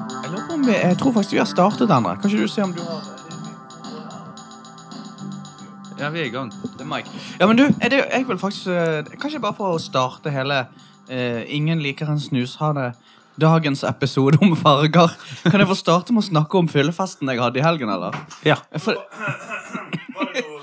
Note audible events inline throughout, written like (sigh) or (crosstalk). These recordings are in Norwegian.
vi, jeg tror faktisk vi har startet, Endre. Kan ikke du se om du har Ja, vi er i gang. Det er Mike. Ja, men du, er det, jeg vil faktisk eh, Kanskje bare for å starte hele eh, Ingen liker en snushane. Dagens episode om farger. Kan jeg få starte med å snakke om fyllefesten jeg hadde i helgen, eller? Ja. For, Var det noe-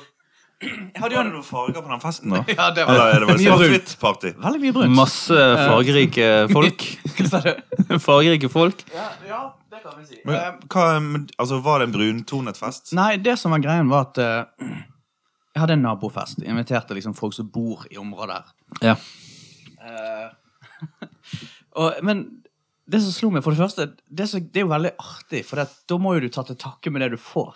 jeg hadde jo var det en noen farger på den festen, da? Ja, det var Eller er det bare mye brunt. svart-hvitt-party? Veldig mye brunt. Masse fargerike (laughs) folk. Hva sa du? fargerike folk. Ja, ja, det kan vi si. Men Eh, hva, men, altså, Var det en bruntonet fest? Nei, det som var greien var at eh, jeg hadde en nabofest. Jeg inviterte liksom folk som bor i området her. Ja. Eh, (laughs) og, men det som slo meg, for det første, det, som- det er jo veldig artig, for det, at da må jo du ta til takke med det du får.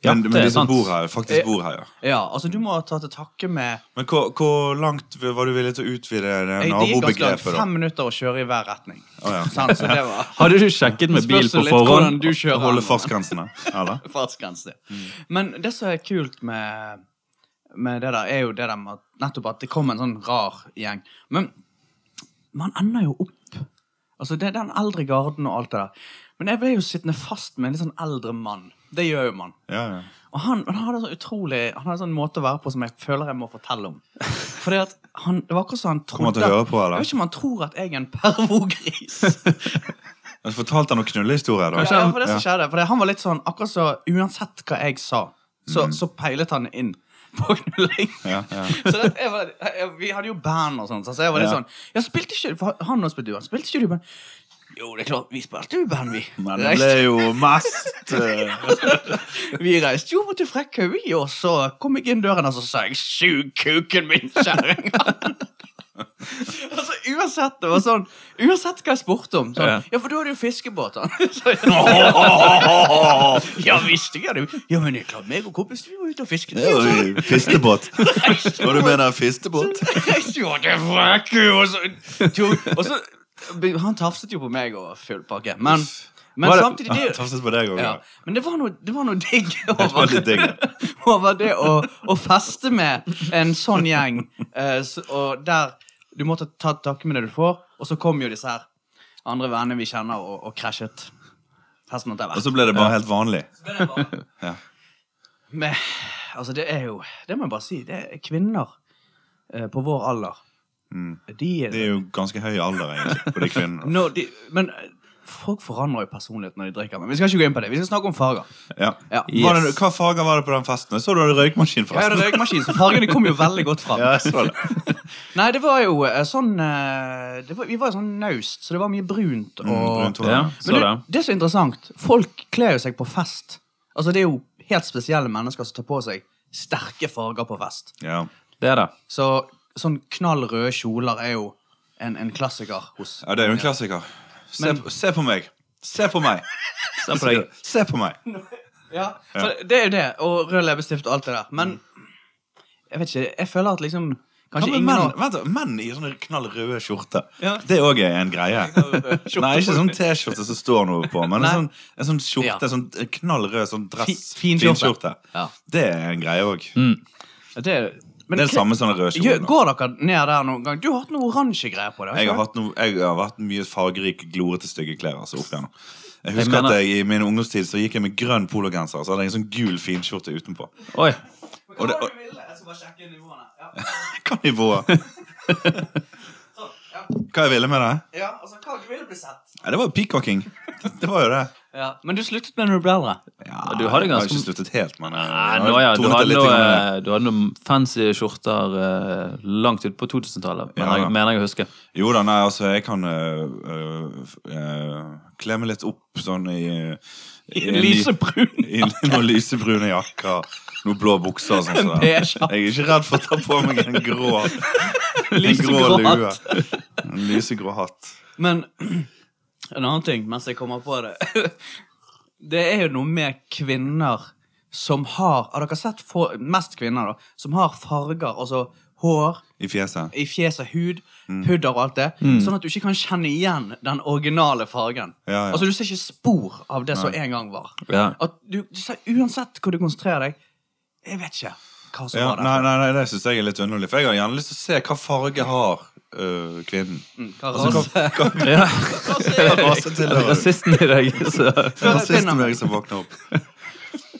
Ja, men, det men er de som sant. bor her, Ja. faktisk bor her, ja. Ja, altså du må ta til takke med Men hvor, hvor langt var du villig til å utvide det Jeg- Det gikk ganske langt. nabobegrepet? da? Fem minutter å kjøre i hver retning. Å, ja. Sant, så det var Hadde du sjekket med bil Spørs jo på litt hvordan forhånd? du kjører. Holde fartsgrensene? Eller? fartsgrense. Mm. Men det som er kult med, med det der, er jo det der med at nettopp at det kom en sånn rar gjeng. Men man ender jo opp. Altså, det er den eldre garden og alt det der. Men jeg ble jo sittende fast med en litt sånn eldre mann. Det gjør jo man. Ja, ja. Og han, han hadde en sånn utrolig Han hadde en sånn måte å være på som jeg føler jeg må fortelle om. Fordi at han, Det var akkurat som han Kommer han trodde til å høre på, Jeg eller? vet ikke om han tror at jeg er en pervogris. Jeg fortalte han noen knullehistorier, da? Ja, ja, for det som Ja. skjedde Fordi han var litt sånn Akkurat så Uansett hva jeg sa, så, Mm. så peilet han inn (laughs) på knulling. Ja, ja. Så det, jeg var, jeg, vi hadde jo band og sånn, så jeg var litt Ja. sånn Ja, spilte ikke for Han også spilte jo band. Spilte ikke du band? Jo, det er klart, vi spilte jo band, vi. Men det ble Reiste, jo mest eh, vi reiste jo over til Frekkhaug, vi, og så kom jeg inn døren, og så sa jeg 'sug kuken min, kjerring'. (laughs) altså, uansett, det var sånn Uansett hva jeg spurte om. Sånn, Ja. ja. for du hadde jo fiskebåt, han. (laughs) (laughs) så, Ja visst, jeg hadde Ja, men det er klart, meg og kompisen vi var ute og fisket. det (laughs) var jo Fistebåt. Hva du mener fistebåt? Jeg så det frekke, og så tok, Og så Han tafset jo på meg og full pakke, men, men Var det- samtidig det, er jo- Tafses Ah, på deg òg. ja, Men det var noe, det var noe digg var litt digg, over, over det å, å feste med en sånn gjeng, eh, s- og der du måtte ta takke med det du får, og så kom jo disse her andre vennene vi kjenner, og, og krasjet. Festen at det Og så ble det bare helt vanlig. (laughs) Ja. Men, altså det er jo Det må jeg bare si. Det er kvinner eh, på vår alder. De er, Mm. Det er jo ganske høy alder, egentlig, på de (laughs) kvinnene. Når de, men eh, folk forandrer jo personlighet når de drikker. Men vi skal ikke gå inn på det. Vi skal snakke om farger. Ja. Ja. Yes. Var det, hva farger var det på den festen? Jeg så du hadde røykmaskin, Jeg hadde forresten. røykmaskin, så fargene kom jo veldig godt fram. Ja, jeg så det. Nei, det (laughs) var jo eh, sånn eh, det var, Vi var jo sånn naust, så det var mye brunt. Og, Mm, Brunt hår. Ja, men så du, det. det er så interessant. Folk kler jo seg på fest. Altså Det er jo helt spesielle mennesker som tar på seg sterke farger på fest. Ja. Det er det. Så sånn knall røde kjoler er jo en, en klassiker hos Ja, det er jo en klassiker. Se, Men- på- se på meg. Se på meg. Se på deg. Se på meg. Ja, så det- det er jo det. Og rød leppestift og alt det der. Men jeg vet ikke, jeg føler at liksom Ja, Kanskje men ingen menn, har vent, da, menn i sånne knall røde skjorter. Ja. Det òg er en greie. (laughs) Nei, ikke sånn T-skjorte som står noe på, men en Nei. sånn, en sånn skjorte, Ja. en sånn knall rød sånn dress. Fin- fin skjorte. Ja. Det er en greie òg. Det er men, Det er det samme som den røde Gjør- kjolen. da. Går dere ned der noen gang? Du har hatt noe oransje greier på deg. Jeg har, ikke hatt noe, jeg har vært mye fargerik, glorete, stygge klær. Altså, opp igjennom. Jeg husker mener- at jeg, I min ungdomstid så gikk jeg med grønn pologenser og så hadde jeg en sånn gul finskjorte utenpå. Oi. du? og det- og- Jeg skal bare sjekke nivåene. Ja. Hva nivået? sånn. Hva jeg ville med det? altså, hva du ville bli sett. Nei, det var jo peacocking. Det var jo det. Ja. Men du sluttet med det når du ble eldre? Ja, du hadde Jeg har ganske- ikke sluttet helt, men jeg, Nei, jeg nå, har ja, du, tonet hadde det litt noe, eh, grann ned. du hadde noen fancy skjorter eh, langt ut på 2000-tallet, mener, Ja, jeg- ja. mener jeg å huske. Jo da, nei, altså, jeg kan øh, øh, f- øh, kle meg litt opp sånn i, i en li- Lysebrun. I noen lysebrune jakker, noen blå bukser og sånn. En sånn. beige jakke. Jeg er ikke redd for å ta på meg en grå, en grå Lysegrå lue. hatt. En lysegrå hatt. Men (clears throat) en annen ting mens jeg kommer på det (laughs) Det er jo noe med kvinner som har Har dere sett få- mest kvinner da som har farger, altså hår I fjeset. i fjeset, hud, Mm. pudder og alt det, sånn at du ikke kan kjenne igjen den originale fargen? Ja, ja. Altså Du ser ikke spor av det som en gang var. Ja. At du, du ser Uansett hvor du konsentrerer deg Jeg vet ikke. hva som Ja, var der. nei, nei, nei, det syns jeg er litt underlig. For jeg har gjerne lyst til å se hva farge har øh, kvinnen. Mm, Hva Altså, rase hva, hva, (laughs) Ja. hva rase Er det tilhører du? Rasisten i deg, så Det er Før jeg rasisten finner i meg. meg som våkner opp.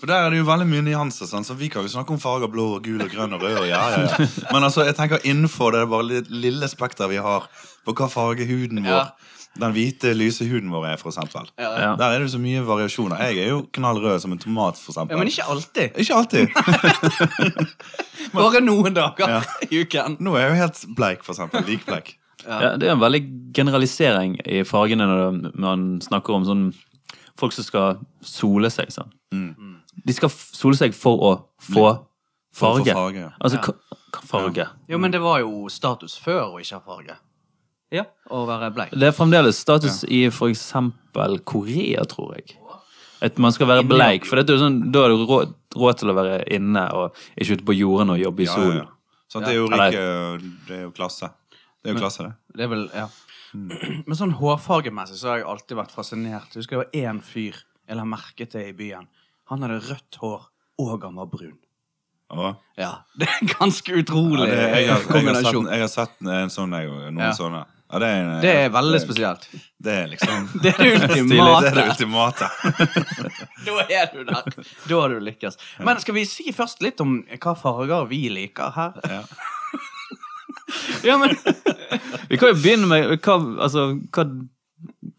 For der er det jo veldig mye nyanser, sant? så vi kan jo snakke om farger blå og gul og grønn og rød. Og ja, ja, ja. Men altså, jeg tenker innenfor det er bare litt lille spekteret vi har på hva farge huden vår Ja. Den hvite, lyse huden vår er, for eksempel. Ja, ja. Ja. Der er det jo så mye variasjoner. Jeg er jo knallrød som en tomat, for Ja, eksempel. men ikke alltid. Ikke alltid. Bare noen dager Ja. i uken. Nå er jeg jo helt bleik, for eksempel. Likbleik. Ja, det er en veldig generalisering i fargene når man snakker om sånn folk som skal sole seg. Sånn. De skal f- sole seg for å få Mm. For å få farge. farge, ja. Altså, hva- hva farge? Jo, men det var jo status før å ikke ha farge. Ja. Å være bleik. Det er fremdeles status i for eksempel Korea, tror jeg. At man skal være bleik, for dette er jo sånn, da er du råd, råd til å være inne og ikke ute på jorden og jobbe i Ja, ja, solen. ja. Sant, det er jo Ja. rike Det er jo klasse. Det er jo klasse, det. Det er vel, ja. (clears throat) Men sånn hårfargemessig så har jeg alltid vært fascinert. Jeg husker det var én fyr jeg la merke til i byen. Han hadde rødt hår, og han var brun. Ja. Ja, (laughs) Det er en ganske utrolig eh, Ja, det, jeg, har, jeg, har sett, kombinasjon. jeg har sett en sånn, jeg, og noen Ja. sånne. Ja, det, er en, Det er veldig (laughs) spesielt. Det er (laughs) liksom Det er det Stilig, det er det ultimate. ultimate. Da er du der. Da har du lykkes. Men skal vi si først litt om hva farger vi liker her? Ja. Ja, men (laughs) Vi kan jo begynne med hva, altså, hva,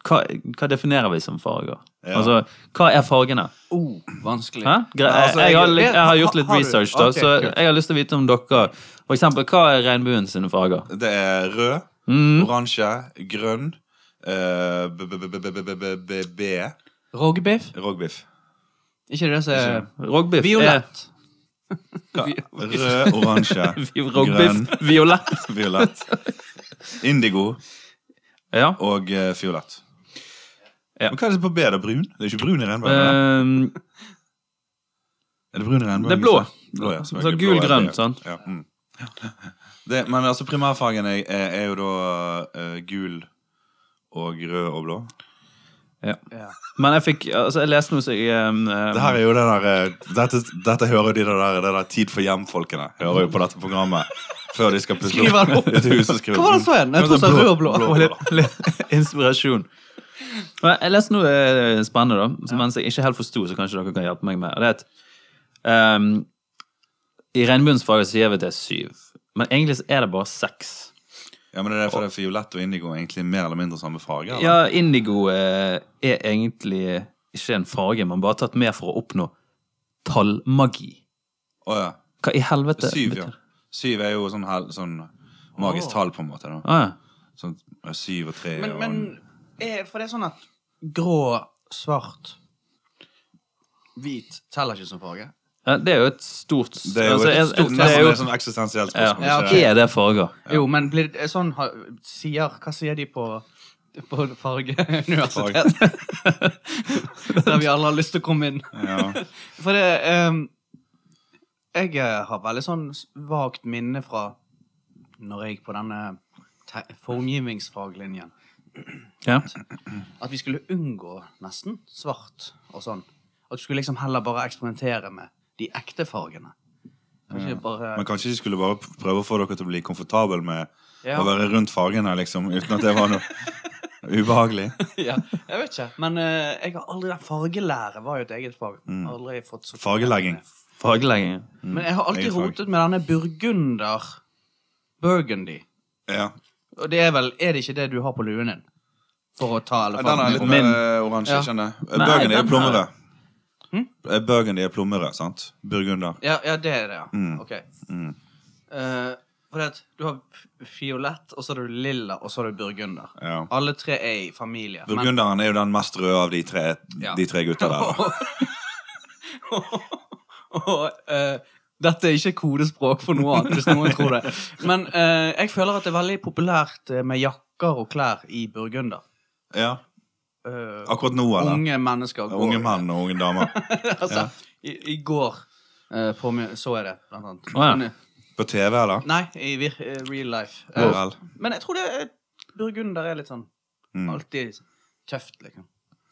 hva, hva definerer vi som farger? Ja. Altså, hva er fargene? oh, Vanskelig. Hæ? Gre Ja, altså, jeg, har, li- jeg- jeg har gjort litt har du- research, da, ok, så kult. jeg har lyst til å vite om dere For eksempel, hva er regnbuen sine farger? Det er rød, Mm. oransje, grønn eh, b- b- b- b- b- b- b- B Rogbiff? Rogbiff. Ikke det som er Rogbiff er Eh, Violett. Hva? Rød, (laughs) oransje, Eh, Vi- Rogbiff, violett. violett. Indigo Ja. og eh, fiolett. Ja. Men hva er det på B? Er det brun? Det er ikke brun i regnbuen? Eh, er det? Ehm, Er det brun i regnbuen? det er blå. blå ja, Så selvfølgelig. gul, Blå er grønn, B. sant? Ja, mm. (laughs) det, men altså primærfargen er, er, er jo da eh, gul og rød og blå. Ja. Men jeg fikk Altså, jeg leste noe som jeg ehm, ehm, Det her er jo det der eh, Dette, dette hører de det der, det der Tid for hjem-folkene hører jo på dette programmet. Før de skal pusse Skriver han opp (laughs) opp? et hus. og skriver Hva var det mm, så igjen? Jeg hva tror jeg er det, sa rød og blå. Og litt, litt inspirasjon. Men jeg leste noe eh, spennende, da, som mens jeg ikke helt forsto, så kanskje dere kan hjelpe meg med. Og det er at ehm, I regnbuens farge sier vi at det er syv, men egentlig så er det bare seks. Ja, men det er derfor det er fiolett og indigo er egentlig mer eller mindre samme farge. eller? Ja, indigo eh, er egentlig ikke en farge, man bare har tatt med for å oppnå tallmagi. Å, ja. Hva i helvete Syv, ja. betyr- Syv er jo sånn, hel, sånn magisk Åh. tall, på en måte. Da. Ah, ja. Sånn, eh, syv og tre Men, og men er, For det er sånn at grå, svart, hvit teller ikke som farge. Ja, Det er jo et stort Det er jo altså, et jeg- stort det er jo, et sånn eksistensielt ja, spørsmål. Ja, ikke ok. det? Er det farger? Jo, men blir det sånn ha- sier, Hva sier de på, på (laughs) fargeuniversitet? (laughs) Der vi alle har lyst til å komme inn. Ja. For det ehm, Jeg eh, har veldig sånn s- vagt minne fra når jeg gikk på denne te- formgivningsfaglinjen. Ja. At vi skulle unngå nesten svart og sånn. At du skulle liksom heller bare eksperimentere med de ekte fargene. Kanskje bare Men kanskje de skulle bare prøve å få dere til å bli komfortabel med Ja. å være rundt fargene, liksom, uten at det var noe (laughs) ubehagelig. (laughs) ja, Jeg vet ikke. Men eh, jeg har aldri den fargelære var jo et eget fag. Mm. Aldri fått så Mm. Fargelegging. Fargelegging. Men jeg har alltid Mm. Eget fag. rotet med denne burgunder burgundy. Ja. Og det er vel Er det ikke det du har på luen din? For å ta Den er litt elefanten? mer Min. eh, oransje, Ja. kjenner jeg. Nei, Burgundy den er plommerød. Hm? Eh, Burgundy er plommerød, sant? Burgunder. Ja, ja, det er det, ja. Mm. Ok. Mm. Eh, for det at du har f- fiolett, og så har du lilla, og så har du burgunder. Ja. Alle tre er i familie. men- Burgunderen er jo den mest røde av de tre, Ja. de tre gutta (laughs) der. da. (laughs) og eh, dette er ikke kodespråk for noe annet, hvis noen tror det. Men eh, jeg føler at det er veldig populært eh, med jakker og klær i burgunder. Ja. Eh, Akkurat nå, eller? unge mennesker går Unge (laughs) menn og unge damer. altså, i, I går eh, på, mi- så jeg det, blant annet. Å, ja. Men, eh, På TV, eller? Nei, i vir, eh, real life. Eh, Hvorel. Men jeg tror det er, burgunder er litt sånn Mm. alltid tøft, liksom.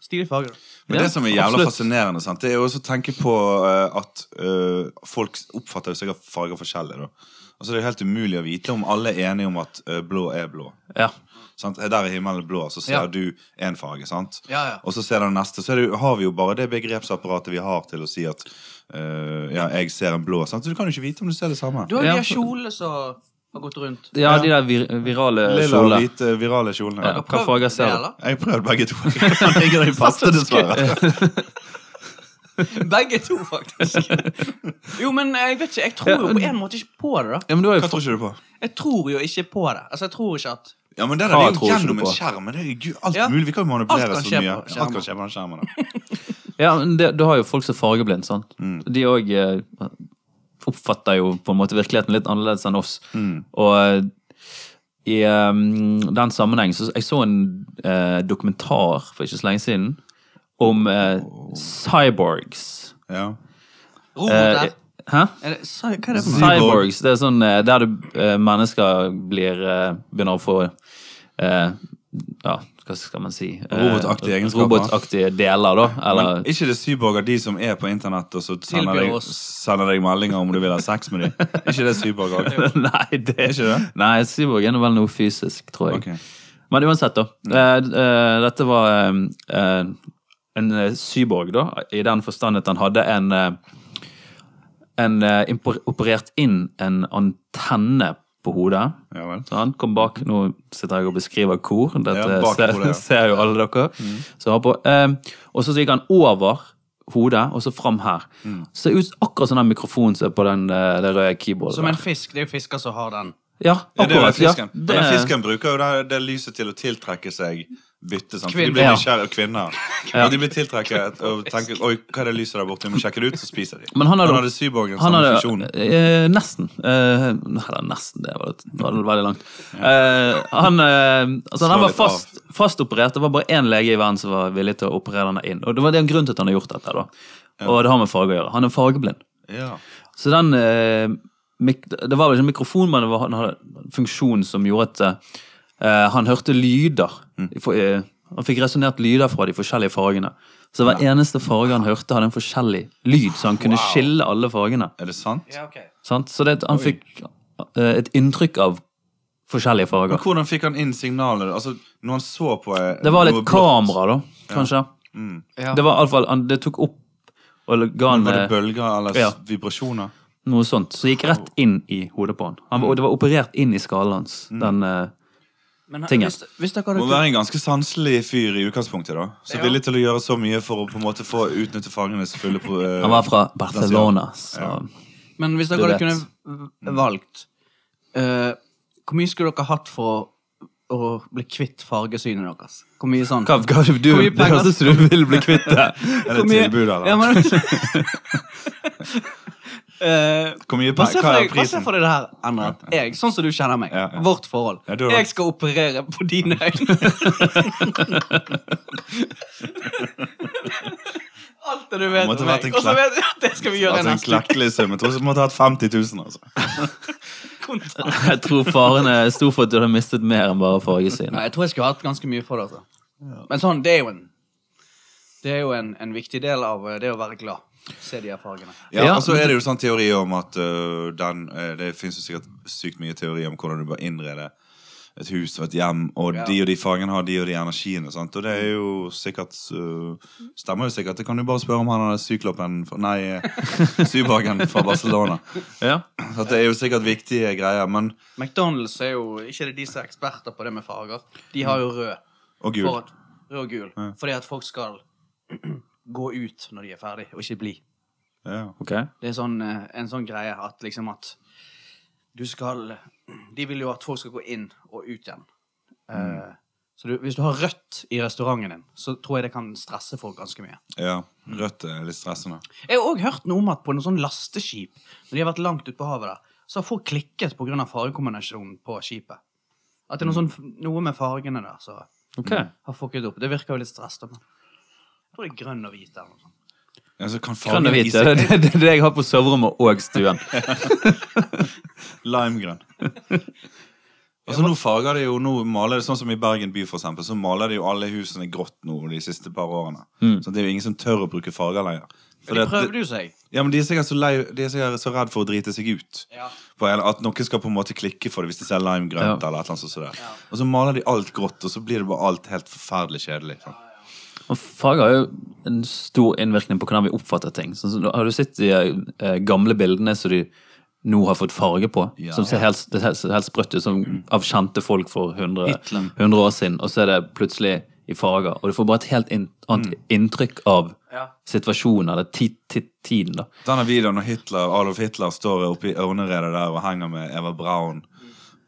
Stilig farge, da. Men Ja, det som er jævla absolutt. fascinerende, sant? det er jo også å tenke på eh, at eh, folk oppfatter jo sikkert farger forskjellig. Da. Altså, det er jo helt umulig å vite om alle er enige om at eh, blå er blå. Ja. Sant? Der er himmelen blå, så ser Ja. du én farge, sant? Ja, ja. og så ser den neste. Så er det, jo- har vi jo bare det begrepsapparatet vi har til å si at eh, ja, jeg ser en blå. Sant? Så du kan jo ikke vite om du ser det samme. Du har jo Ja. de her kjolene som har gått rundt. ja, de der vir virale Eh, Lilla og kjoler. (laughs) hvite virale kjolene. Ja. Hva farger ser du? Jeg har prøvd begge to. (laughs) Jeg ligger i faste, dessverre. Begge to, faktisk. Jo, men eh, jeg vet ikke. Jeg tror jo på en måte ikke på det, da. (laughs) Ja, men du har jo Hva tror ikke du på? Jeg tror jo ikke på det. Altså, jeg tror ikke at Ja, men det der Hva er jo tror ikke gjennom du en på? skjerm. men Det er jo alt Ja. mulig. Vi kan jo Alt manipulere kan så skje mye. på skjermen. Alt kan skje på den skjermen. Da. Ja, men det, Du har jo folk som er fargeblind. sant? Mm. De òg eh, oppfatter jo på en måte virkeligheten litt annerledes enn oss. Mm. Og eh, i eh, den sammenheng så Jeg så en eh, dokumentar for ikke så lenge siden om eh, cyborgs. Ja. Robert Eh, hæ? er det, sa- Hva er det for noe? Cyborgs. Det er sånn eh, der du, eh, mennesker blir eh, begynner å få eh, Ja, hva skal man si? Eh, Robotaktige egenskaper. Robotaktige deler, da. Eller Men ikke det cyborger, de som er på internett og så sender Tilbyr deg, oss. sender deg meldinger om du vil ha sex (laughs) med dem? Ikke det (laughs) cyborger? Nei, det er ikke det? Nei, cyborg er nå vel noe fysisk, tror jeg. Ok. Mm. Men uansett, da. eh, eh, dette var eh, eh, en eh, cyborg, da, i den forstand at han hadde en eh, en eh, impor- operert inn en antenne på hodet. Ja vel. Så han kom bak Nå sitter jeg og beskriver hvor. Dette Mhm. Ja, Mhm. bak ser, hvor det (laughs) er. ser jo alle dere. som har på. Eh, og så gikk han over hodet, og så fram her. Mhm. Ser ut akkurat som den mikrofonen som er på den, eh, det røde keyboardet. Som der. en fisk. Det er jo fisker som har den. Ja, Ja, det er vel akkurat. Ja, fisken. det- Men fisken bruker jo det, det lyset til å tiltrekke seg bytte. Sant? For Kvinner. de blir Ja. nysgjerrige (laughs) kvinner. Og de blir tiltrekket og tenker Oi, hva er det lyset der borte? Vi må sjekke det ut, så spiser de. Men han hadde- hadde cyborgen han samme hadde- sånn funksjon. eh, nesten. Eh, nei, det er nesten. Det var, det var veldig langt. Eh, han, eh, altså, Slå han var litt av. fast, fastoperert. Det var bare én lege i verden som var villig til å operere han inn. Og det var det en grunn til at han har gjort dette. da. Og det har med farge å gjøre. Han er fargeblind. Ja. Så den eh, mik Det var vel ikke en mikrofon, men det var, han hadde en funksjon som gjorde at eh, han hørte lyder. For, eh, han fikk resonnert lyder fra de forskjellige fargene. Så hver eneste farge han hørte, hadde en forskjellig lyd, så han kunne skille alle fargene. Er det sant? Ja, ok. Sant? Så det, han fikk eh, et inntrykk av forskjellige Men farger. hvordan fikk han inn signalet? Altså, når han så på eh, Det var litt noe blått, kamera, da, kanskje. Ja. Det var iallfall Det tok opp og ga han Var det eh, bølger eller s- Ja. vibrasjoner? noe sånt. Så det gikk rett inn i hodet på han. han var- og det var operert inn i skallen hans. Den eh, Men Tingen. hvis, hvis dere hadde Må være en ganske sanselig fyr i utgangspunktet, da. Så Ja. villig til å gjøre så mye for å på en måte få utnytte fangenes fulle pro- eh, Han var fra Barcelona, så Men hvis dere Du hadde vet. kunne v- valgt eh, Hvor mye skulle dere hatt for å, å bli kvitt fargesynet deres? Hvor mye sånn? hva, hva, du, Hvor mye Det penger- høres ut som du vil bli kvitt det. Er det Hvor mye- tilbud, eller? Ja, men... (laughs) Eh, Hvor mye hva pe- ser Hva for er deg- hva ser prisen? for deg det her, Endre? At Jeg, sånn som du kjenner meg. Ja, ja. Vårt forhold. Ja, du har- Jeg skal operere på (laughs) dine øyne. Alt det du vet om måtte vært meg. en Og så klekk. vet jeg at det skal vi gjøre Altså en neste uke. klekkelig sum. Jeg tror vi måtte hatt 50 000, altså. Kontant. (laughs) Jeg tror faren er stor for at du hadde mistet mer enn bare fargesynet. Nei, jeg tror jeg skulle hatt ganske mye for det. Altså. Men sånn, det er jo en Det er jo en, en viktig del av eh, det å være glad. Se de her fargene. Ja, Ja, og så men- er det jo sånn teori om at øh, den øh, Det fins jo sikkert sykt mye teori om hvordan du bør innrede et hus og et hjem, og Ja. de og de fangene har de og de energiene, sant? og det er jo sikkert øh, Stemmer jo sikkert. Det kan du bare spørre om han der syklopen fra- (laughs) Nei, eh, syborgen fra Barcelona. Ja. Så at det er jo sikkert viktige greier, men McDonald's er jo ikke det de som er eksperter på det med farger. De har jo rød. Og gul. For at, rød og gul. Fordi at folk skal gå ut når de er ferdig, og ikke bli. ja. Ok. Det er sånn, eh, en sånn greie at liksom at du skal De vil jo at folk skal gå inn og ut igjen. Eh, så du, hvis du har rødt i restauranten din, så tror jeg det kan stresse folk ganske mye. ja. Rødt er litt stressende. Jeg har òg hørt noe om at på noen sånn lasteskip, når de har vært langt ute på havet der, så har folk klikket pga. fargekombinasjonen på skipet. At det er noe, sånn, noe med fargene der som Ok. har fucket opp. Det virker jo litt stress, da. Men jeg tror det er grønn og hvit der. eller noe sånt. Ja, så kan Grønn og fargen hvit. vise- ja. Det er det, det jeg har på soverommet og stuen. Limegrønn. Altså Nå farger de jo, nå maler det sånn som i Bergen by, for eksempel, så maler de jo alle husene grått nå de siste par årene. Så det er jo ingen som tør å bruke farger lenger. For De det- prøvde jo seg. Ja, men de er sikkert så, lei, de er sikkert så redd for å drite seg ut. Ja. På en, at noen skal på en måte klikke for det hvis de ser lime grønt. Ja. eller et eller annet sånt. som det. Og så maler de alt grått, og så blir det bare alt helt forferdelig kjedelig. liksom. sant? Og farger har jo en stor innvirkning på hvordan vi oppfatter ting. Sånn, som- har du sett de eh, gamle bildene som de nå har fått farge på? Ja. Som ser helt, det ser helt sprøtt ut, som av kjente folk for 100, Hitler. 100 år siden, og så er det plutselig i farger. Og du får bare et helt inn, annet inntrykk av Ja. situasjonen, eller ti, ti, tiden, da. Denne videoen når Hitler, Adolf Hitler står oppe i ørneredet der og henger med Eva Braun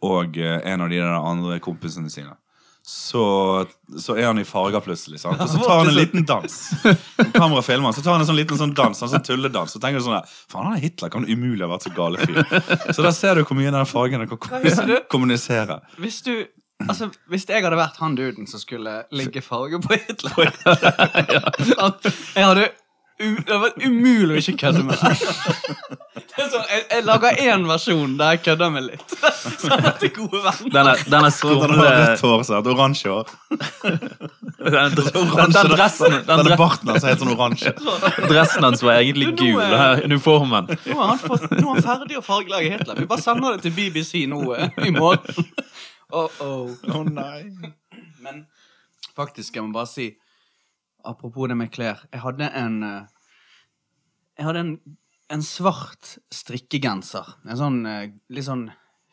og eh, en av de der andre kompisene sine. Så, så er han i farger plutselig. Sant? Og så tar han en liten dans. Kamera filmer han, så tar han en sånn liten sånn dans, en sånn tulledans. Så tenker du sånn der, Faen, han er Hitler kan umulig ha vært så gale fyr. Så der ser du hvor mye den fargen kan visste du? kom- kommunisere. Hvis du Altså, hvis jeg hadde vært han duden som skulle ligge farge på Hitler (laughs) at Jeg hadde u, Det var umulig å ikke kødde med det. det er sånn, jeg, jeg lager én versjon der jeg kødder med litt. (laughs) Sånn at det er gode venner. Denne, denne Den har skumle rødt hår, så et oransje hår. (laughs) den, den, den dressen den Denne dre- barten hans er helt sånn oransje. (laughs) Dressen hans var egentlig Du, eh. nå gul, er- denne uniformen. Nå er han, fått, nå er han ferdig å fargelage Hitler. Vi bare sender det til BBC nå eh, i morgen. Oh, oh. Å nei. Men faktisk, jeg må bare si Apropos det med klær. Jeg hadde en eh, Jeg hadde en, en svart strikkegenser. En sånn eh, litt sånn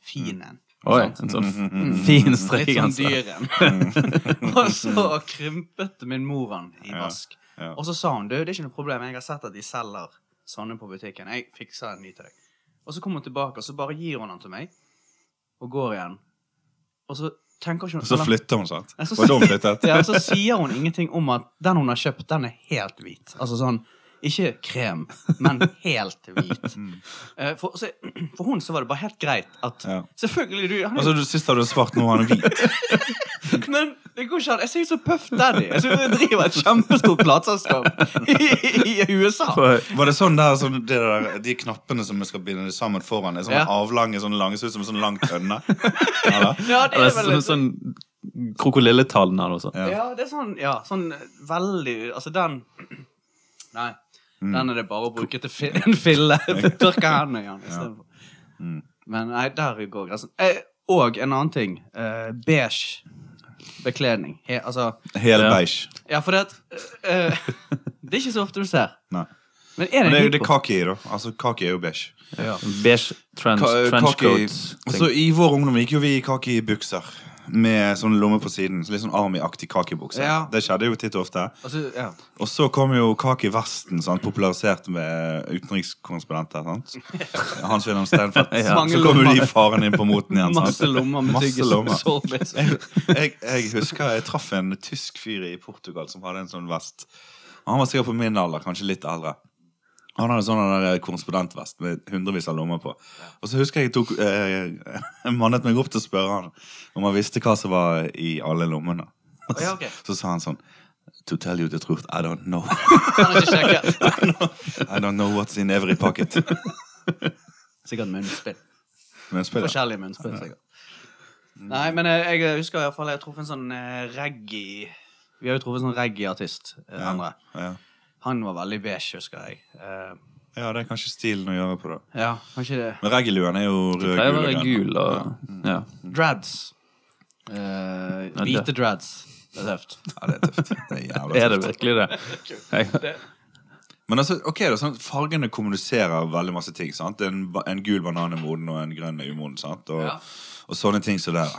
fin en. Oi, sant? en sånn f- Litt fin (laughs) sånn strikkegenser. dyr en. (laughs) og så krympet min mor han i Mm. Ja, vask. ja. Og så sa hun du, det er ikke noe problem, jeg har sett at de selger sånne på butikken. Jeg fikser en ny til deg. Og så kommer hun tilbake, og så bare gir hun den til meg, og går igjen. Og så tenker ikke hun Så eller- flytter hun, sant? Ja, så- Var da hun flyttet? ja, så sier hun ingenting om at den hun har kjøpt, den er helt hvit. Altså sånn ikke krem, men helt hvit. Mm. Eh, For, så, for hun så var det bare helt greit at Ja. Selvfølgelig, du han, Altså, er- du, Sist hadde du svart, nå har han hvit. Men det går ikke an. Jeg ser ut som Puff Daddy. Jeg ser ut som jeg driver et kjempestort plateselskap i, i USA. For- Var det sånn der, sånn, det der De knappene som vi skal binde sammen foran, er sånne Ja. avlange, sånne lange, ser ut som en sånn lang (laughs) tønne? Eller? Ja, det Eller er vel sånn, sånn krokodilletallen her også. Ja. Ja, det er sånn Ja, sånn eh, veldig Altså, den Nei. Mm. Den er det bare å bruke til fi en fille. (laughs) Tørke hendene i den istedenfor. Mm. Men nei, der går grensen. Eh, og en annen ting. Eh, beige bekledning. He, altså Hel Ja. beige. Ja, for det at eh, eh, Det er ikke så ofte du ser. Nei. Men er det Men det, en er- det hit er på? kaki, da. Altså, kaki er jo beige. Ja. Sånn Beige trench, Ka- kaki trenchcoat. Så I vår ungdom gikk jo vi i kaki-bukser. Med sånn lomme på siden. så Litt sånn Army-aktig kakibukse. Ja. Det skjedde jo titt og ofte. Altså, ja. Og så kom jo kaki-vesten, sant? popularisert med utenrikskorrespondenter. (laughs) sant? Hans-Wilhelm Steinfeld. Ja. Så kom jo de faren inn på (laughs) moten igjen. sant? Masse lommer med Masse (laughs) lommer. tyggesorbis. jeg, jeg husker jeg traff en tysk fyr i Portugal som hadde en sånn vest. Han var sikkert på min alder, kanskje litt eldre. Han hadde sånn der korrespondentvest med hundrevis av lommer på. Og så husker jeg jeg tok, eh, (laughs) jeg mannet meg opp til å spørre han om han visste hva som var i alle lommene. Å, ja, ok. Så sa han sånn To tell you the truth, I don't know. Kan ikke (laughs) sjekke. I don't know what's in every pocket. Sikkert munnspill. Men spill, ja. Forskjellige munnspill, sikkert. Nei, men eh, jeg husker i hvert fall jeg har truffet en sånn eh, reggae Vi har jo truffet en sånn reggae-artist. eh, Andre. ja. Han var veldig beige, husker jeg. Eh, ja, det er kanskje stilen å gjøre på det. ja, kanskje det. Men reggeluen er jo rød, Pleier å gul og være grønn. gul og ja. Drads. Eh, det- hvite drads. Det er tøft. Ja, det er tøft. Det er jævla tøft. (laughs) Er det virkelig det? (laughs) Jeg, Men altså, ok, det er sånn, Fargene kommuniserer veldig masse ting. sant? En, ba- en gul banan er moden, og en grønn er umoden. sant? Og, Ja. og sånne ting som det der.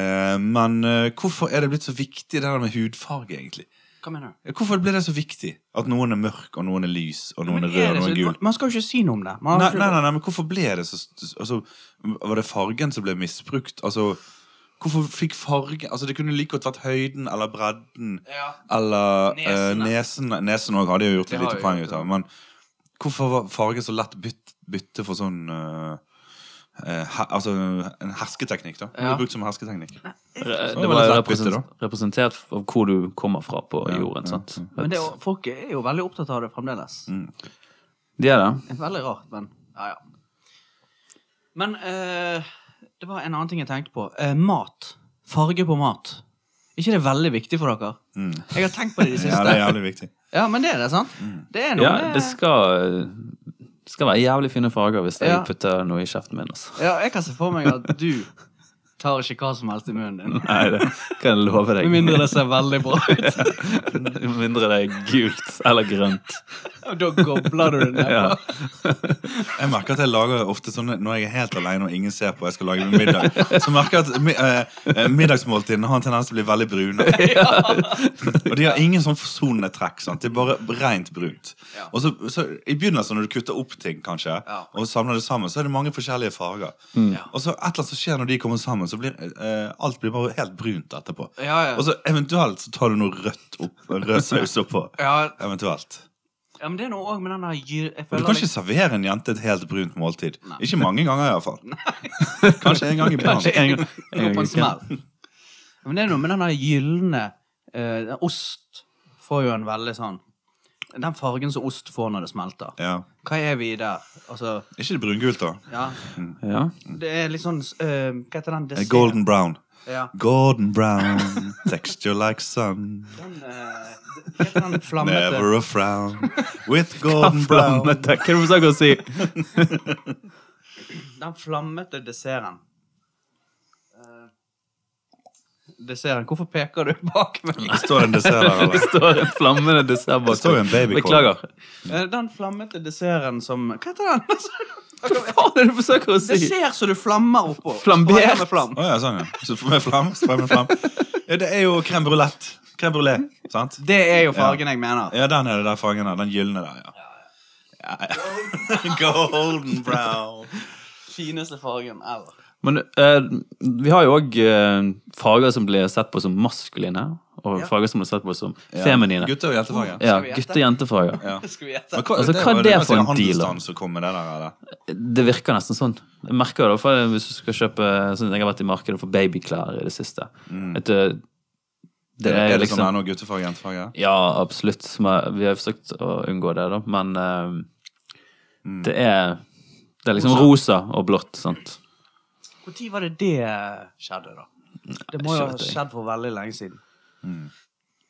Eh, men eh, hvorfor er det blitt så viktig det der med hudfarge, egentlig? Eh, Hva mener du? Hvorfor blir det så viktig at noen er mørk, og noen er lys, og noen Men er rød, er og det noen er så- gul? man- Man skal jo ikke si noe om det. Man Nei, har nei, ikke- nei, nei, men hvorfor ble det så altså, Var det fargen som ble misbrukt? Altså, hvorfor fikk farge Altså, Det kunne like godt vært høyden eller bredden Ja. eller eh, Nesene. nesen. Nesen òg hadde jo gjort Det et har lite jo poeng gjort ut av. Men hvorfor var farge så lett bytt, bytte for sånn eh, eh, he, Altså en hersketeknikk, da. Det Ja. ble brukt som hersketeknikk. det det var jo litt lettbytte, represent, representert av hvor du kommer fra på jorden. sant? Men det, er jo- folk er jo veldig opptatt av det fremdeles. De er det. Veldig rart, men ja, ja. Men eh, Det var en annen ting jeg tenkte på. Eh, mat. Farge på mat. ikke det veldig viktig for dere? Jeg har tenkt på det i det Mm. Ja, siste. det Mm. er jævlig viktig. Ja, men det er det, sant? Det er noe Ja, med- det skal, det skal være jævlig fine farger hvis jeg Ja. putter noe i kjeften min. Altså. ja, jeg kan se for meg at du tar ikke hva som helst i munnen (laughs) din. Nei, det kan jeg love deg. Med mindre det ser veldig bra ut. (laughs) Med mindre det er gult eller grønt. Og da gobler du det ned. Ja. Jeg merker at jeg lager ofte sånne Når jeg er helt alene og ingen ser på, jeg skal lage middag, så merker jeg at mi- eh, eh, middagsmåltidene har en tendens til å bli veldig (laughs) brune. Og de har ingen sånn forsonende trekk. sant? Det er bare rent brunt. Ja. Og så, så I begynnelsen, når du kutter opp ting, kanskje, Ja. og samler det sammen, så er det mange forskjellige farger. Ja. Og så et eller annet som skjer når de kommer sammen, så blir eh, alt blir bare helt brunt etterpå. Ja, ja. Og så eventuelt så tar du noe rødt opp, rød saus oppå. Ja, Eventuelt. ja, men det er noe òg med den der gyr... Jeg Og føler du kan ikke liksom- servere en jente et helt brunt måltid. Nei. Ikke mange ganger, (laughs) iallfall. Kanskje en gang iblant. Kanskje en gang. Jeg går på en smell. Men det er noe med den der gylne eh, den Ost får jo en veldig sånn Den fargen som ost får når det smelter. Ja. Hva er vi i der? Altså, Ikke det brungult, da. Eh, ja Ja. Det er litt sånn eh, Hva heter den Eh, dessert- Golden brown. Ja. Golden (laughs) brown, texture like sun, Den, eh, hva heter den flammete never a frown. (laughs) With golden brown. Flammete. Hva er det du snakker om å si? Den flammete desserten. Eh, Desserten. Hvorfor peker du bak meg? Det står en dessert (laughs) her, Det eller? står en flammende dessert bak. Det står jo en babykorn. Beklager. Eh, Den flammete desserten som Hva heter den? (laughs) Hva faen er det du forsøker å si? Dessert som du flammer oppå. Flambert. Sprayer med flam. Å ja, sånn, ja. Så får vi flam, spray med flam. Ja, det er jo crème brulette. Crème brulé, sant? Det er jo fargen jeg mener. Ja, den er det der fargen der. Den gylne der, ja. ja, (laughs) ja. Golden brown. Fineste fargen ever. Men eh, vi har jo òg farger som blir sett på som maskuline, og Ja. farger som blir sett på som Ja. feminine. Gutte- og jentefargen. Ja, Skal vi gjette? gutte- og jentefarger. Ja. (laughs) Skal vi gjette? hva, Altså, hva var er det for en var sikkert deal, da? handelsstanden som kom med det der, eller? Det virker nesten sånn. Jeg merker det i hvert fall hvis du skal kjøpe sånn, Jeg har vært i markedet for babyklær i det siste. Et, eh, det er Er Mm. det sånn liksom ennå guttefag og jentefag? ja? Ja, absolutt. Men Vi har forsøkt å unngå det, da. Men eh, Mm. det er Det er liksom rosa og blått, sant. Når var det det skjedde, da? Det må jo ha ikke vet jeg. skjedd for veldig lenge siden.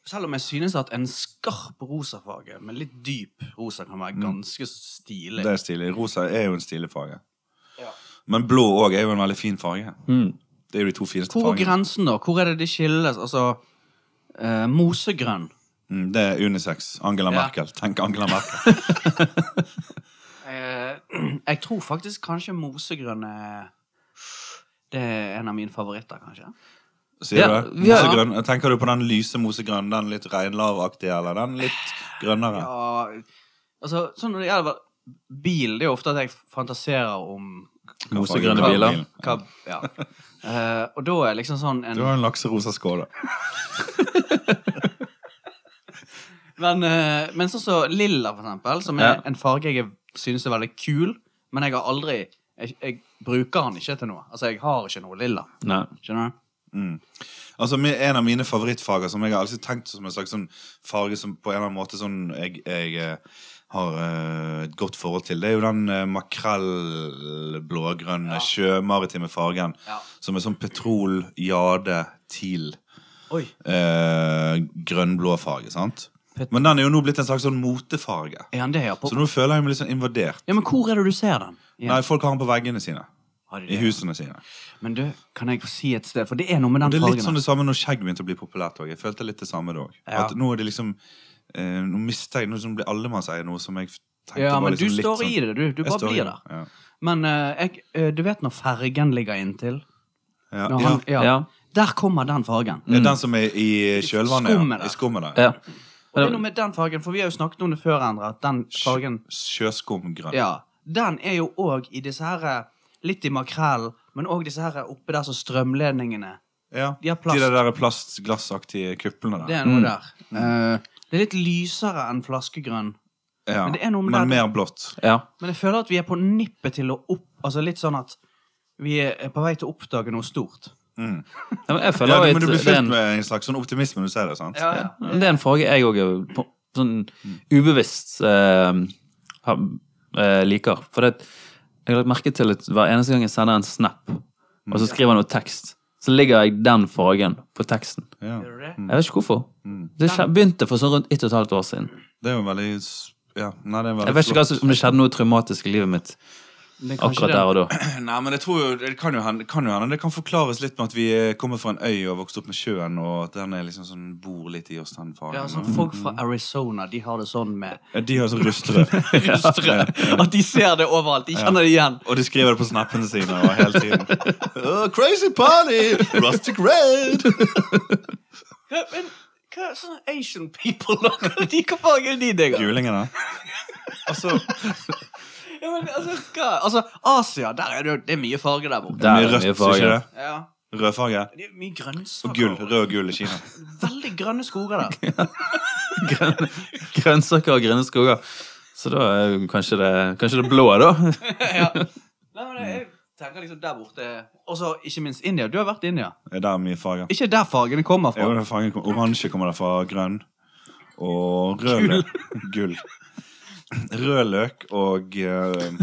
Selv om jeg synes at en skarp rosafarge med litt dyp rosa kan være ganske stilig. Det er stilig. Rosa er jo en stilig farge. Ja. Men blå òg er jo en veldig fin farge. Mm. Det er jo de to fineste Hvor er fargene. grensen, da? Hvor er det de skilles? Altså eh, Mosegrønn. Mm, det er unisex. Angela Ja. Merkel. Tenk Angela (laughs) Merkel. Eh, (clears throat) jeg tror faktisk kanskje mosegrønn er Det er en av mine favoritter, kanskje. Sier Ja, du det? vi har- Mosegrønn. Tenker du på den lyse mosegrønne, den litt reinlavaktige, eller den litt grønnere? Ja, altså, sånn når det gjelder bil, det er jo ofte at jeg fantaserer om Mosegrønne Hva- biler. Hva, ja. (laughs) Eh, og da er liksom sånn en Du har en lakserosa skål, da. Men, eh, men sånn som lilla, for eksempel, som er Ja. en farge jeg synes er veldig kul, men jeg har aldri jeg, jeg bruker den ikke til noe. Altså, jeg har ikke noe lilla. Nei. Skjønner du? Altså, mi- En av mine favorittfarger som jeg har alltid tenkt som en slags sånn farge som på en eller annen måte sånn jeg, jeg eh, har eh, et godt forhold til, det er jo den eh, makrell-blågrønne sjømaritime fargen Ja. som er sånn petrol, jade, til Oi. eh, grønnblå farge, sant? Men den er jo nå blitt en slags sånn motefarge. Er han det, ja? På, Så nå føler jeg meg litt sånn invadert. ja, men hvor er det du ser den? Ja. Nei, folk har den på veggene sine. Har de I det? husene sine. Men du, kan jeg få si et sted? For det er noe med den Det er fargen. litt sånn det samme når skjegg begynte å bli populært òg. Jeg følte litt det samme da òg. Ja. At Nå er det liksom eh, Nå mister jeg noe som blir allemannseie, noe som jeg tenkte ja, var men du liksom litt står sånn i det, du. Du Jeg bare står i blir det, der. Men eh, jeg, eh, du vet når fergen ligger inntil? Ja. Ja. Når Ja. han, ja. Ja. Der kommer den fargen. Det er den som er i Skummet, kjølvannet. ja. da. I skummet der. Ja. Og det er noe med den fargen, for vi har jo snakket om det før, Endre, at den fargen Sjøskumgrønn. Ja. Den er jo òg i disse her eh, Litt i makrell, men òg disse her oppe der som strømledningene. Ja. De har plast. De der plastglassaktige kuplene Det der. er noe Mm. der. Eh, det er litt lysere enn flaskegrønn. Ja. men det er noe med Men det- mer blått. ja. Men jeg føler at vi er på nippet til å opp... Altså litt sånn at vi er på vei til å oppdage noe stort. ja men jeg føler Ja, jo men du blir at det er fylt en med en slags sånn optimisme når du ser det, sant? Men Det er en farge jeg òg sånn ubevisst eh, har- eh, liker. For det, jeg har lagt merke til at hver eneste gang jeg sender en snap og så skriver han noe tekst. Så ligger jeg den fargen på teksten. Ja. Gjør du det? Jeg vet ikke hvorfor. Det skje- begynte for sånn rundt ett og et halvt år siden. Det er jo veldig s- ja. Nei, det er veldig Jeg vet ikke hva flott. som- om det skjedde noe traumatisk i livet mitt Det er kanskje akkurat det. der (laughs) og da. Nei, men jeg tror jo, det kan jo hende, kan jo hende. Det kan forklares litt med at vi eh, kommer fra en øy og vokste opp med sjøen, og at den er liksom sånn, bor litt i oss, den faren. Ja, sånn Folk fra Arizona de har det sånn (laughs) med Ja, De har sånn rustrød. rustere. At de ser det overalt. De kjenner det igjen. Og de skriver det på snappene sine og hele tiden. (laughs) Oh, crazy party! Rustic red! Hva, men hva er sånne Asian people da? (laughs) De, Hva faen er de, digga? Gulingene. Altså, Ja, men altså, hva? altså, Asia, der er det, jo- det er mye farge der borte. Der er mye det rødt, mye ikke farger. det? Ja, Rødfarge. det er mye grønnsaker. Og gull. Rød og gull i Kina. Veldig grønne skoger (laughs) der. Grønne, (laughs) grønnsaker og grønne skoger. Så da er jo kanskje det, kanskje det blå, (laughs) da. ja. Nei, men jeg tenker liksom der borte Og så ikke minst India. Du har vært i India. Det er der mye farger. Ikke der fargene kommer Jo, fra. den fargen kom- Oransje kommer derfra. Grønn. Og rød løk. Gull. Rød løk og eh,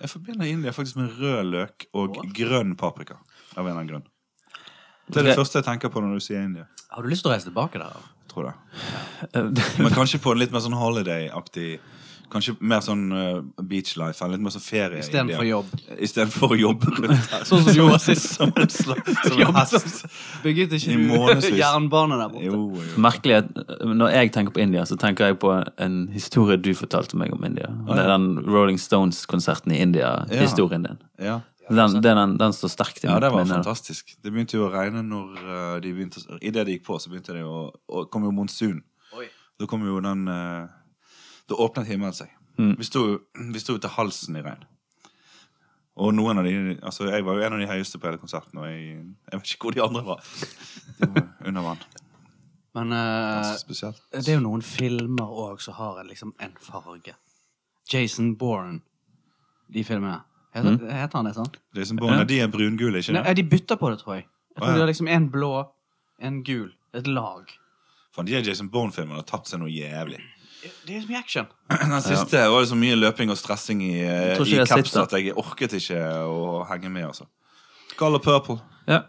Jeg forbinder India faktisk med rød løk og grønn paprika. Av en eller annen grunn. Det er det Ok. første jeg tenker på når du sier India. Har du lyst til å reise tilbake der? Jeg Tror det. Eh, Men kanskje på en litt mer sånn holiday-aktig Kanskje mer sånn eh, beach life eller litt mer sånn ferie. i Istedenfor India. jobb. (laughs) Istedenfor å jobbe (laughs) rundt her. Sånn som du var sist. Som en slags som en Jobb som- hest. Bygget ikke I du månedsvis. jernbane der borte? Jo, jo. Merkelig at når jeg tenker på India, så tenker jeg på en historie du fortalte meg om India. Det er den Rolling Stones-konserten i India-historien din. Ja. Den, den, den, den står sterkt i Ja, mitt det eh, var minne, da. fantastisk. Det begynte jo å regne når eh, de begynte å- I det det gikk på, så begynte det å og kom jo monsun. Oi. Da kom jo den eh, Da åpnet himmelen seg. Mm. Vi sto (clears throat) vi sto til halsen i regn. Og noen av de Altså, jeg var jo en av de høyeste på hele konserten, og jeg, jeg vet ikke hvor de andre var. De var under vann. Men (laughs) eh, Ganske spesielt. det er jo noen filmer òg som har en, liksom en farge. Jason Bourne, de filmene. Heter, heter han det sånn? Det er som barna, De er brungule, ikke det? Nei, de bytter på det, tror jeg. Jeg tror Å, ja. det er liksom en blå, en gul, et lag. Faen, de er Jason Bourne-filmene har tapt seg noe jævlig. Det er så mye action. Den siste var det så mye løping og stressing i, eh, tror ikke i jeg har caps sett at jeg orket ikke å henge med, altså. Color purple. Ja.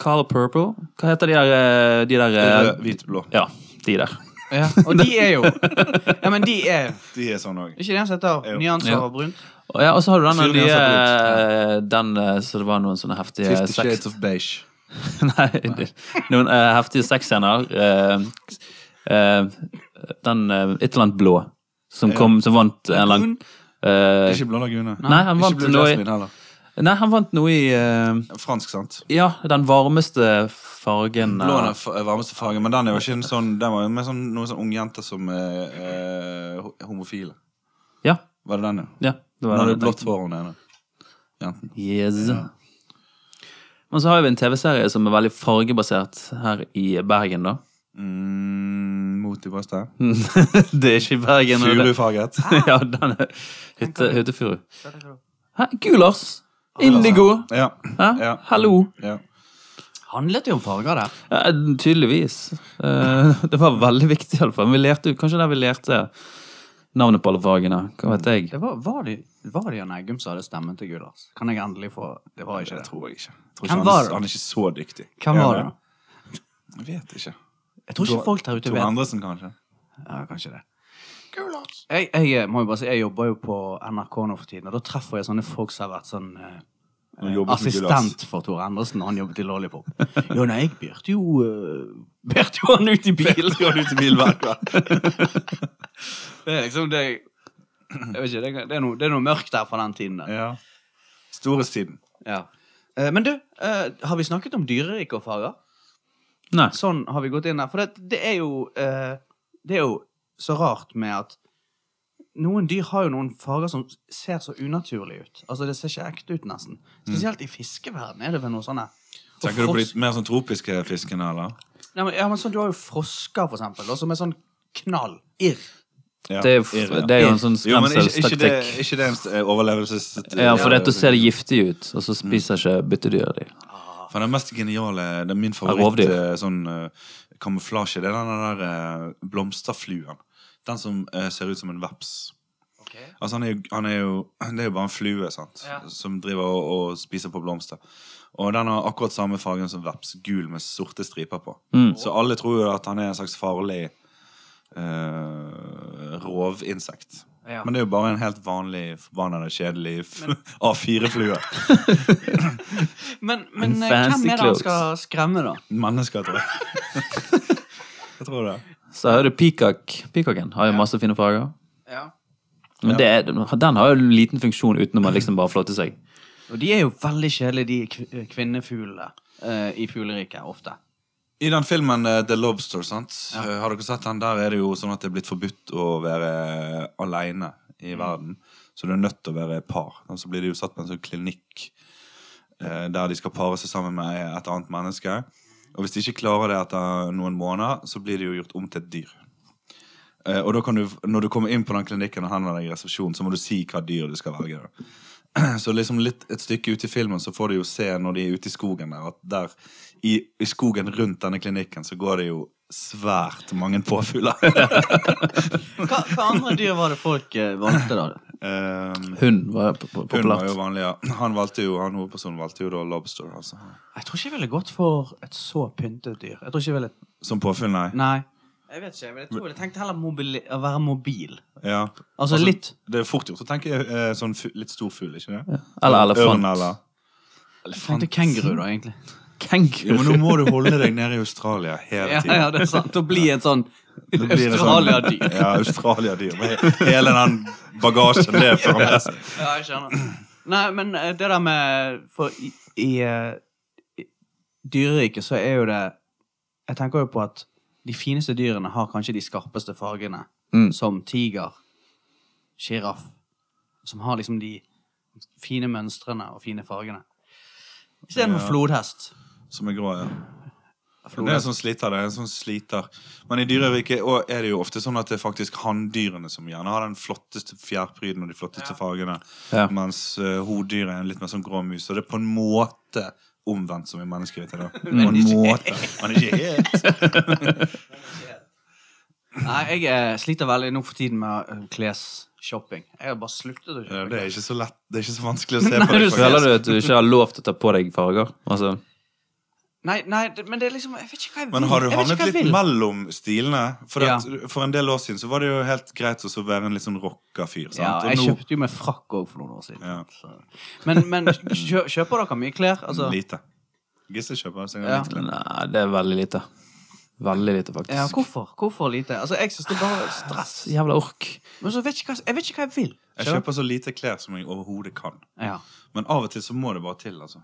Color Purple. Hva heter de der, eh, de der eh, Rød, hvit, blå. Ja, de der. Ja, og de er jo Ja, men de er De er sånn òg. Ikke det han setter Jo. nyanser Ja. av brunt? Og ja, og så har du den Fyren nye jeg har eh, Den eh, så det var noen sånne heftige Fifty sex... Shades of Beige. (laughs) Nei, det- noen eh, heftige sexscener. eh, eh, den eh, et eller annet blå som kom, som vant en eller annen eh, Ikke Blå Lagune. Nei, han vant Ikke Blue noe i- Jasmine heller. Nei, han vant noe i eh, Fransk, sant? Ja, den varmeste fargen eh, Blå er den f- varmeste fargen, men den er jo ikke en sånn Den var jo mer sånn, noen sånn ungjenter som er eh, ho- homofile. Ja. Var det den, ja ja? det Hun den hadde jeg blått hår, hun ene. Jenten. Yes. Men så har vi en TV-serie som er veldig fargebasert her i Bergen, da. (laughs) Mm, mot i brystet. det er ikke i Bergen. og det- Furufarget. (laughs) ja, den er hytte, Hyttefuru. Hæ? Gulars! Indigo! Ja. Hæ? Ja. Hallo! ja. Handlet det om farger der? Ja, tydeligvis. Eh, (laughs) det var veldig viktig, iallfall. Vi lærte jo kanskje der vi lærte navnet på alle fagene. Hva vet jeg? Det var, var det var det Jan Eggum som hadde stemmen til Gulas? Kan jeg endelig få Det var ikke Det det. tror jeg ikke. Jeg tror ikke Hvem han, var er- det? han er ikke så dyktig. Hvem Er var han det? Jeg vet ikke. Jeg tror ikke folk der ute Tor vet Andresen, kanskje? Ja, kanskje det. Jeg, jeg eh, må jo bare si, jeg jobber jo på NRK nå for tiden, og da treffer jeg sånne folk som har vært sånn eh, Og jobbet med assistent for Tor Endresen når han jobbet i Lollipop. Jo, nei, jeg bjørte jo eh, Bjørte jo han ut i bil! Skal du til bilverket? (laughs) Det er liksom det Jeg vet ikke, det, er- det, er, noe, det er noe mørkt der fra den tiden der. Ja. Storhetstiden. Ja. Eh, Men du, eh, har vi snakket om dyrerike og farger? Nei. Sånn har vi gått inn der. For det, det er jo eh, Det er jo så rart med at noen dyr har jo noen farger som ser så unaturlige ut. Altså Det ser ikke ekte ut, nesten. Spesielt i fiskeverden er det vel noe sånne Og Tenker du på de frosk- mer sånn tropiske fiskene, eller? Nei, men, ja, men sånn, Du har jo frosker, for eksempel, da, som er sånn knall. Irr. Ja. Det er, jo f- Irre. det er jo en sånn Jo, men ikke, ikke, det, skremselstaktikk. ikke det er en s- eh, overlevelses... Ja, for dette ser det giftig ut, og så spiser ikke byttedyra di. For den mest geniale, det er min favoritt Rovdyr. eh, sånn eh, kamuflasje, det er den der eh, blomsterfluen. Den som eh, ser ut som en veps. Altså han er, jo, han er jo Det er jo bare en flue sant? Ja. som driver og, og spiser på blomster. Og den har akkurat samme fargen som veps, gul med sorte striper på. Mm. Så alle tror jo at han er en slags farlig eh, rovinsekt. Ja. Men det er jo bare en helt vanlig, forbanna kjedelig f- (laughs) A4-flue. Men, men eh, hvem Fancy er det han clothes. skal skremme, da? (laughs) Mennesker, tror jeg. jeg tror det. Så har du peacock. Peacocken har jo masse fine farger. Ja. Men det er, den har jo en liten funksjon utenom å liksom bare flotte seg. Og de er jo veldig kjedelige, de kv- kvinnefuglene eh, i fugleriket, ofte. I den filmen eh, The Lobster, sant? Ja. Eh, har dere sett den? Der er det jo sånn at det er blitt forbudt å være aleine i verden. Så du er nødt til å være par. Og så blir de jo satt på en sånn klinikk eh, der de skal pare seg sammen med et annet menneske. Og hvis de ikke klarer det etter noen måneder, så blir de jo gjort om til et dyr. Eh, og da kan du, når du kommer inn på den klinikken og henvender deg i resepsjonen, så må du si hva dyr du skal velge. Da. Så liksom litt et stykke ut i filmen så får du jo se når de er ute i skogen der, at der i, i skogen rundt denne klinikken så går det jo svært mange påfugler. (laughs) Hva, hva andre dyr var det folk eh, valgte, da? um, Hund var jo po- hun var jo populært. vanlig, ja. Han valgte jo, han hovedpersonen valgte jo da lobster, altså. Jeg tror ikke jeg ville gått for et så pyntet dyr. Jeg tror ikke jeg ville Som påfugl, nei. Nei. Jeg vet ikke, men jeg tror jeg tenkte heller mobili- å være mobil. Ja. Altså, litt Det er fort gjort å tenke eh, sånn fu litt stor fugl, ikke det? Eller Ørn, elefant. eller. Jeg tenkte kenguru, da, egentlig. Jo, men (laughs) Kenguru. nå må du holde deg nede i Australia hele Ja, tiden. ja, det er sant. Å bli en sånn Det blir det sånn- Australia-dyr. Ja, Australia-dyr. Med he- Hele den bagasjen (laughs) det fører med seg. Ja, jeg skjønner. Nei, men eh, det der med For i, i, eh, i dyreriket så er jo det Jeg tenker jo på at de fineste dyrene har kanskje de skarpeste fargene, Mm. som tiger, sjiraff, som har liksom de fine mønstrene og fine fargene. Istedenfor Ja. flodhest. Som er grå, ja. Det er en flodhest. sånn sliter, det er en sånn sliter. Men i dyreriket også er det jo ofte sånn at det er faktisk hanndyrene som gjerne har den flotteste fjærpryden og de flotteste fargene, Ja. mens uh, hodyret er en litt mer sånn grå mus. Og det er på en måte omvendt som i menneskeriket. (laughs) da. På en måte. Men ikke helt. Nei, jeg eh, sliter veldig nå for tiden med eh, klesshopping. Jeg har bare sluttet å Ja, kjøpe. Det er ikke så lett, det er ikke så vanskelig å se Nei, på du det. ser- faktisk. Føler du at du ikke har lov til å ta på deg farger? Altså, Nei, nei, det- men det er liksom Jeg vet ikke hva jeg vil. Men har du Jeg vet ikke havnet hva jeg litt vil. mellom stilene? For, Ja. at, for en del år siden så var det jo helt greit også å være en litt sånn rocka fyr. sant? Ja, Og jeg nå- kjøpte jo meg frakk òg for noen år siden. Ja. så. Men, men kjø, kjøper dere mye klær? Altså, Lite. Gisse kjøper seg Ja. litt klær. nei, det er veldig lite. Veldig lite, ja, faktisk. hvorfor? Hvorfor lite? Altså, jeg syns det bare er stress. Så Jævla ork. Men så vet jeg ikke hva jeg, vet ikke hva jeg vil. Jeg Skjønner du? kjøper så lite klær som jeg overhodet kan. Ja. Men av og til så må det bare til, altså.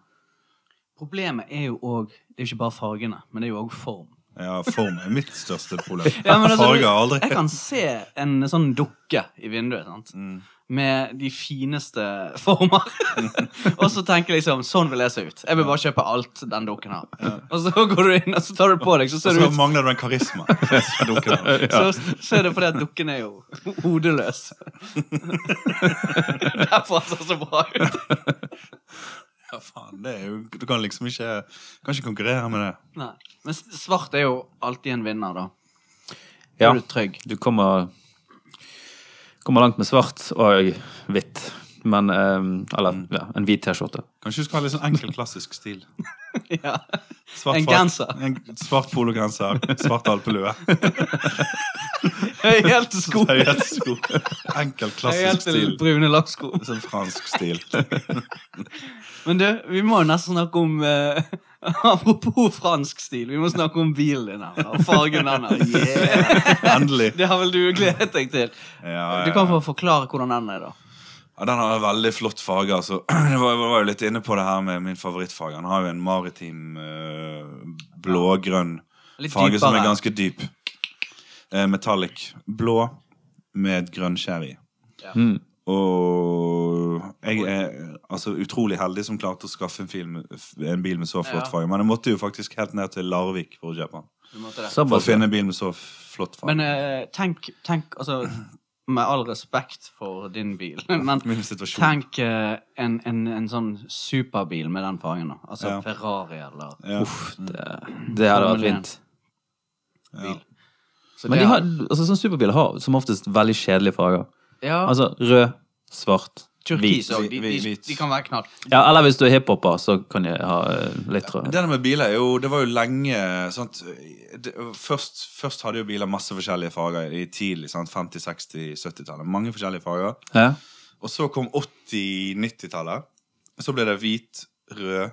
Problemet er jo òg Det er jo ikke bare fargene, men det er jo òg form. Ja, form er mitt største problem. Ja, men altså, Farger har aldri Jeg kan se en sånn dukke i vinduet sant? Mm. med de fineste former. (laughs) og så tenker jeg liksom sånn vil jeg se ut. Jeg vil bare kjøpe alt den dukken har. Og så går du inn og så tar du på deg, så Og ser du så ut mangler du (laughs) en karisma. Så dukker det opp. så, så er det fordi at dukken er jo (laughs) hodeløs. Derfor ser han så bra ut. Ja, faen, det er jo, du kan liksom ikke, kan ikke konkurrere med det. Nei. Men s- svart er jo alltid en vinner, da. Ja. Er du trygg? Du kommer, kommer langt med svart og hvitt. Men ehm, Eller ja, en hvit T-skjorte. Kanskje du skal ha litt sånn enkel, klassisk stil. Ja. Svart En frak- genser. En svart pologenser, svart alpelue. Helt sko. Høyhælte sko. Enkel, klassisk Helt stil. brune lakksko. Sånn fransk stil. Men du, vi må jo nesten snakke om eh, (laughs) Apropos fransk stil, vi må snakke om bilen din her, og fargen den (laughs) her. Endelig. Det har vel du gledet deg til. Ja, Du ja. kan få forklare hvordan den er, da. Ja, den har veldig flott farge. Altså. (clears throat) Jeg var, jeg var jo litt inne på det her med min favorittfarge. Han har jo en maritim eh, blågrønn Litt farge som dypere. er ganske dyp. Eh, metallic. Blå med grønn skjær i. Mm. Og jeg er altså, utrolig heldig som klarte å skaffe en, film, en bil med så flott Ja. farge. Men jeg måtte jo faktisk helt ned til Larvik for å kjøpe den. Du måtte det. For å Såpass. finne en bil med så flott farge. Men eh, tenk, tenk altså, Med all respekt for din bil, (laughs) men Min situasjon. tenk eh, en, en, en sånn superbil med den fargen. da. Altså Ja. Ferrari eller ja. Uff, det, det hadde vært fint. bil. Så Men det de er- har, altså, sånn superbiler har som oftest veldig kjedelige farger. Ja, Altså rød, svart, turkis hvit. òg. De, de, de, hvit. kan være knall. Ja, eller hvis du er hiphoper, så kan jeg ha eh, litt rød. Det der med biler er jo Det var jo lenge sant? Det, først, først hadde jo biler masse forskjellige farger i tidlig. Sant? 50-, 60-, 70-tallet. Mange forskjellige farger. Ja. Og så kom 80-, 90-tallet. Så ble det hvit, rød,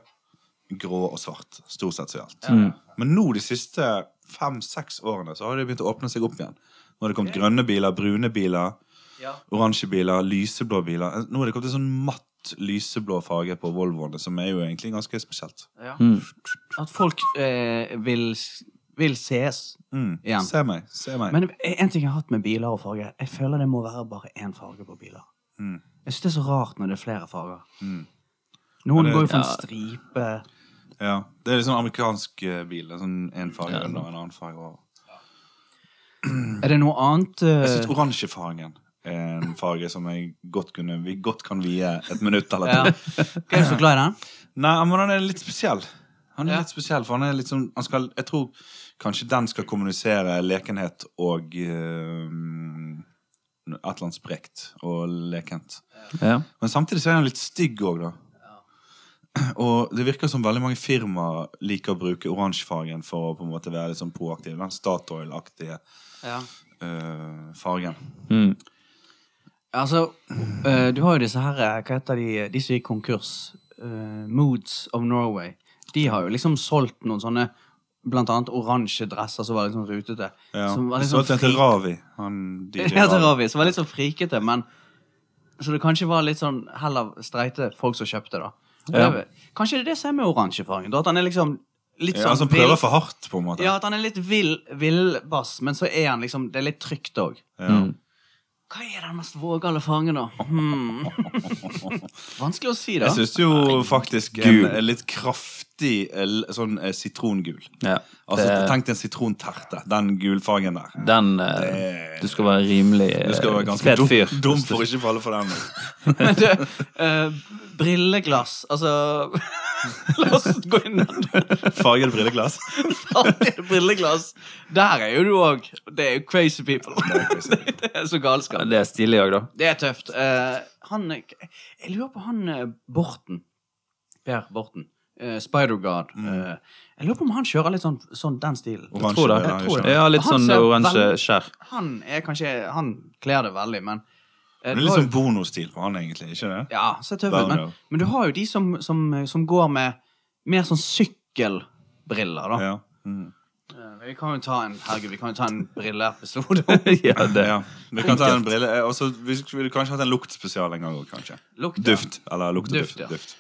grå og svart. Stort sett så gjaldt. Men nå de siste fem-seks årene så har det begynt å åpne seg opp igjen. Nå har det kommet grønne biler, brune biler, Ja. oransje biler, lyseblå biler. Nå har det kommet en sånn matt lyseblå farge på Volvoene, som er jo egentlig ganske spesielt. Ja. At folk eh, vil, s- vil ses Mm. igjen. Se meg. se meg. Men en ting jeg har hatt med biler og farger, jeg føler det må være bare én farge på biler. Mm. Jeg syns det er så rart når det er flere farger. Mm. Noen Ja, det- går jo for en ja. stripe. Ja, Det er litt sånn amerikansk eh, bil. det er Sånn en farge under og en annen farge over. Er det noe annet eh, Jeg syns oransjefargen er en farge som jeg godt kunne, vi godt kan vie et minutt eller ja. to. Hva er du så glad i den? Nei, men han er litt spesiell. Han er Ja. litt spesiell, for han er litt sånn han skal, Jeg tror kanskje den skal kommunisere lekenhet og eh, et eller annet sprekt og lekent. Ja. Men samtidig så er han litt stygg òg, da. Og det virker som veldig mange firmaer liker å bruke oransjefargen for å på en måte være litt sånn proaktiv. Den Statoil-aktige Ja. eh, fargen. Mm. Altså, eh, du har jo disse her eh, Hva heter de De som gikk konkurs? Eh, Moods of Norway. De har jo liksom solgt noen sånne Blant annet oransje dresser som var litt sånn rutete. Ja. Som var litt så sånn tenkte (laughs) fri- Ravi, han DJ Ja, til Ravi. Ravi, som var litt sånn frikete, men Så det kanskje var litt sånn heller streite folk som kjøpte, da. Og Ja. det- Kanskje det er det som er med oransjefargen. da, At han er liksom litt Ja, sånn han som prøver for hardt, på en måte. Ja, at han er litt vill, villbass, men så er han liksom Det er litt trygt òg. Ja. Mm. Hva er den mest vågale fangen, da? Hmm. Vanskelig å si, da. Jeg syns jo faktisk en, en litt kraftig eh, l- sånn eh, sitrongul. ja. Altså, Tenk deg en sitronterte. Den gulfargen der. Den eh, Du skal være rimelig eh, Du skal være ganske fet dum, fyr. dum for å ikke falle for den. (laughs) Men du, eh, brilleglass Altså (laughs) La oss gå inn den. Farget brilleglass. Fattige brilleglass. Der er jo du òg. Det er jo crazy people. (laughs) Det er så galskap. Det er stilig òg, da. Det er tøft. Eh, han Jeg lurer på han eh, Borten. Per Borten. Eh, Spider-God. Mm. Eh, jeg lurer på om han kjører litt sånn, sånn den stilen. Oransje, tror det. det er Jeg tror ikke- det. Ja, litt Han sånn ser oransje veldig- skjær. (laughs) Han er kanskje Han kler det veldig, men eh, Det er du litt har sånn bonostil på han, egentlig. ikke det? Ja, ser tøff ut, Brown, men, ja. men du har jo de som, som, eh, som går med mer sånn sykkelbriller, da. Ja. Mm. Eh, Vi kan jo ta en herregud, vi kan jo ta en (laughs) brilleepisode. Ja, det. Ja. Vi kan ta en brille eh, også, Vi skulle kanskje hatt en luktspesial en gang òg, kanskje. Lukt, ja. Duft. Eller lukt og Duft, duft. ja. duft.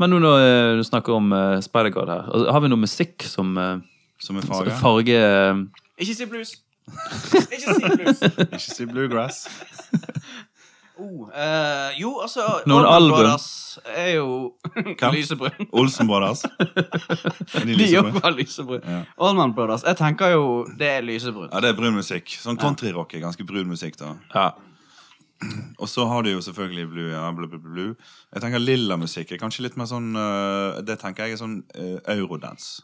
Men nå når eh, du snakker om eh, Spider-God her, altså, har vi noe musikk som eh, Som er som farge. farge eh, Ikke si blues! Ikke si blues! Ikke si bluegrass. Oh, eh, jo, altså Noen Allman album? Brothers er jo Hvem? (laughs) lysebrun. Olsen (laughs) Brothers. Er de De lysebrune? òg var lysebrun. Ja. Allman Brothers. Jeg tenker jo det er lysebrun. Ja, det er brun musikk. Sånn countryrock er ganske brun musikk, da. Ja. Og så har du jo selvfølgelig blue, ja, blue, blue, blue. Jeg tenker lilla musikk er kanskje litt mer sånn øh, Det tenker jeg er sånn øh, eurodance.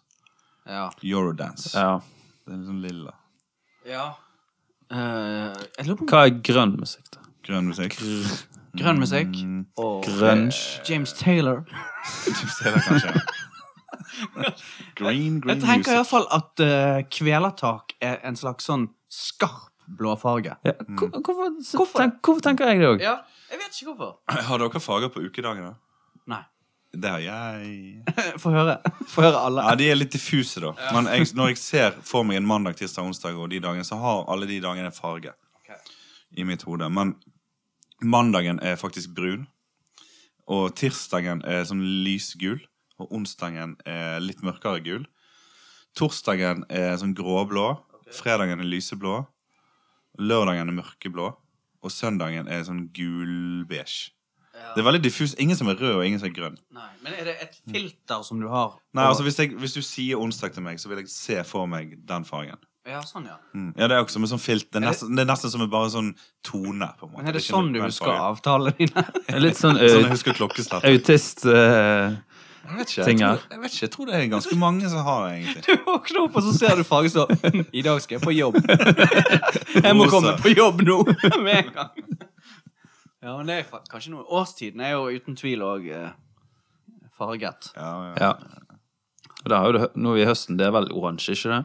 Ja. Eurodance. ja. Det er litt sånn lilla. ja. Eh, jeg lurer på om Hva er grønn musikk, da? Grønn musikk. grønn musikk Mm. og Grunge. eh, James Taylor. Typ steder, kanskje. green, Jeg green tenker music. iallfall at eh, kvelertak er en slags sånn skarp blåfarge. Ja. hvor- Hvorfor, så Hvorfor? Tenk, hvorfor tenker jeg det òg? Ja, jeg vet ikke hvorfor. Har dere farger på ukedagene? Nei. Det har jeg. (laughs) Få høre. Få høre alle. Ja, De er litt diffuse, da. Men jeg, når jeg ser for meg en mandag, tirsdag, onsdag og de dagene, så har alle de dagene farge Ok. i mitt hode. Men mandagen er faktisk brun, og tirsdagen er sånn lysgul, og onsdagen er litt mørkere gul. Torsdagen er sånn gråblå, fredagen er lyseblå, lørdagen er mørkeblå, og søndagen er sånn gulbeige. Ja. Det er veldig diffus. Ingen som er rød, og ingen som er grønn. Nei, men er det et filter som du har? Nei, altså hvis, jeg, hvis du sier onsdag til meg, så vil jeg se for meg den fargen. Ja, sånn, ja. Mm. Ja, Det er jo ikke som en sånn filt. Det er det- nesten, det er nesten som en bare sånn tone. på en måte. Men er det ikke sånn en du grønn husker farge. avtalene dine? Litt sånn Sånn jeg uh, husker klokkeslett. Jeg, autist... eh, vet ikke, jeg, ting her. tror, jeg vet ikke, jeg tror det er ganske mange som har det, egentlig. (laughs) Du våkner opp, og så ser du fargen så "Hm, (laughs) I dag skal jeg på jobb. Jeg må Rosa. (laughs) komme på jobb nå! Med en gang. Ja, men det er fa- kanskje noe. Årstiden er jo uten tvil òg farget. Ja, ja. Ja. Og da har jo det, hø- nå er vi i høsten, det er vel oransje, ikke det?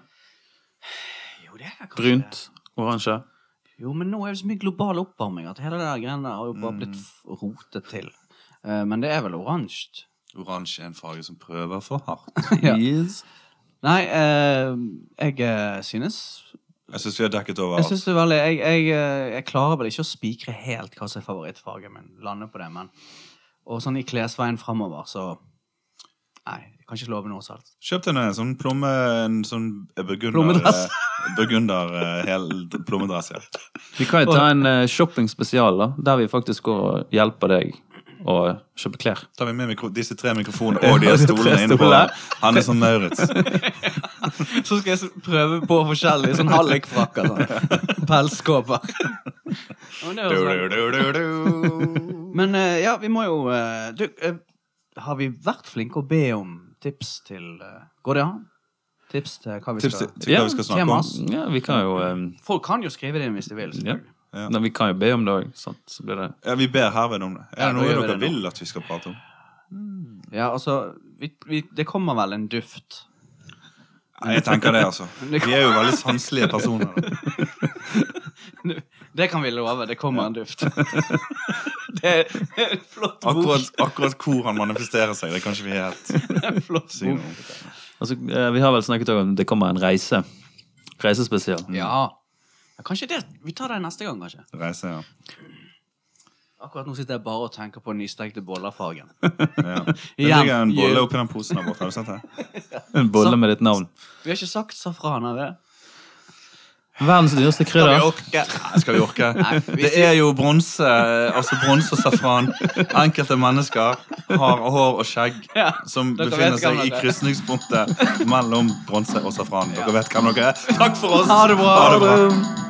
Jo, det er kanskje Brunt, oransje. (laughs) Jo, men nå er det så mye global oppvarming at hele det der greiene der har jo bare blitt f- rotet til. Eh, Men det er vel oransje? Oransje er en farge som prøver for hardt. Ja. Yes. Nei, eh, jeg eh, synes Jeg syns vi har dekket over Jeg alt. synes det er veldig jeg, jeg, eh, jeg klarer vel ikke å spikre helt hva som er favorittfarget min. Lande på det, men Og sånn i klesveien framover, så Nei, jeg kan ikke love noe salt. Kjøp deg en sånn plomme... En sånn burgunder... Plommedress. eh, burgunder eh, hel plommedress, ja. Vi kan jo ta en eh, shoppingspesial, da, der vi faktisk går og hjelper deg å kjøpe klær. Tar vi med mikro disse tre (laughs) mikrofonene og de her stolene Tre inne på stoler. Han er sånn (laughs) Maurits. Så skal jeg s- prøve på forskjellige sånn hallikfrakker. Sånn. (laughs) Pelskåper. Ja, men det sånn- høres Du, bra ut. du, du, du, du. Men eh, ja, vi må jo eh, Du, eh, har vi vært flinke å be om tips til eh, Går det an? Tips til hva vi Tips skal til, til hva Ja, vi skal snakke om. temas. Ja, vi kan jo eh, Folk kan jo skrive det inn hvis de vil. ja. selvfølgelig. Ja. Nei, vi kan jo be om det òg, så blir det Ja, vi ber herved om det. Ja, Er det da gjør vi noe dere det nå. vil at vi skal prate om? Ja, altså vi, vi, Det kommer vel en duft. (laughs) Nei, jeg tenker det, altså. Men (laughs) Vi det kom- er jo veldig sanselige personer. da. Det kan vi love. Det kommer en duft. (laughs) det er en flott bok. Akkurat, akkurat hvor han manifesterer seg, det kan ikke vi helt Det er en flott si noe bok. om. altså, eh, Vi har vel snakket også om det kommer en reise. Reisespesial. Ja. ja. Kanskje det Vi tar det neste gang, kanskje. Reise, ja. Akkurat nå sitter jeg bare og tenker på nystekte bollerfargen. (laughs) ja. Det Igjen. ligger en bolle Gjør- oppi den posen der borte. Har du sett det? En bolle Så- med ditt navn. Vi har ikke sagt safran, har vi? Verdens dyreste krydder. Nei, skal vi orke? Nei, vi Det er jo bronse altså bronse og safran. Enkelte mennesker har hår og skjegg (laughs) Ja, som dere befinner vet hvem seg i dere er. krysningspunktet mellom bronse og safran. Dere vet hvem dere er. Takk for oss. Ha det bra. Ha det bra.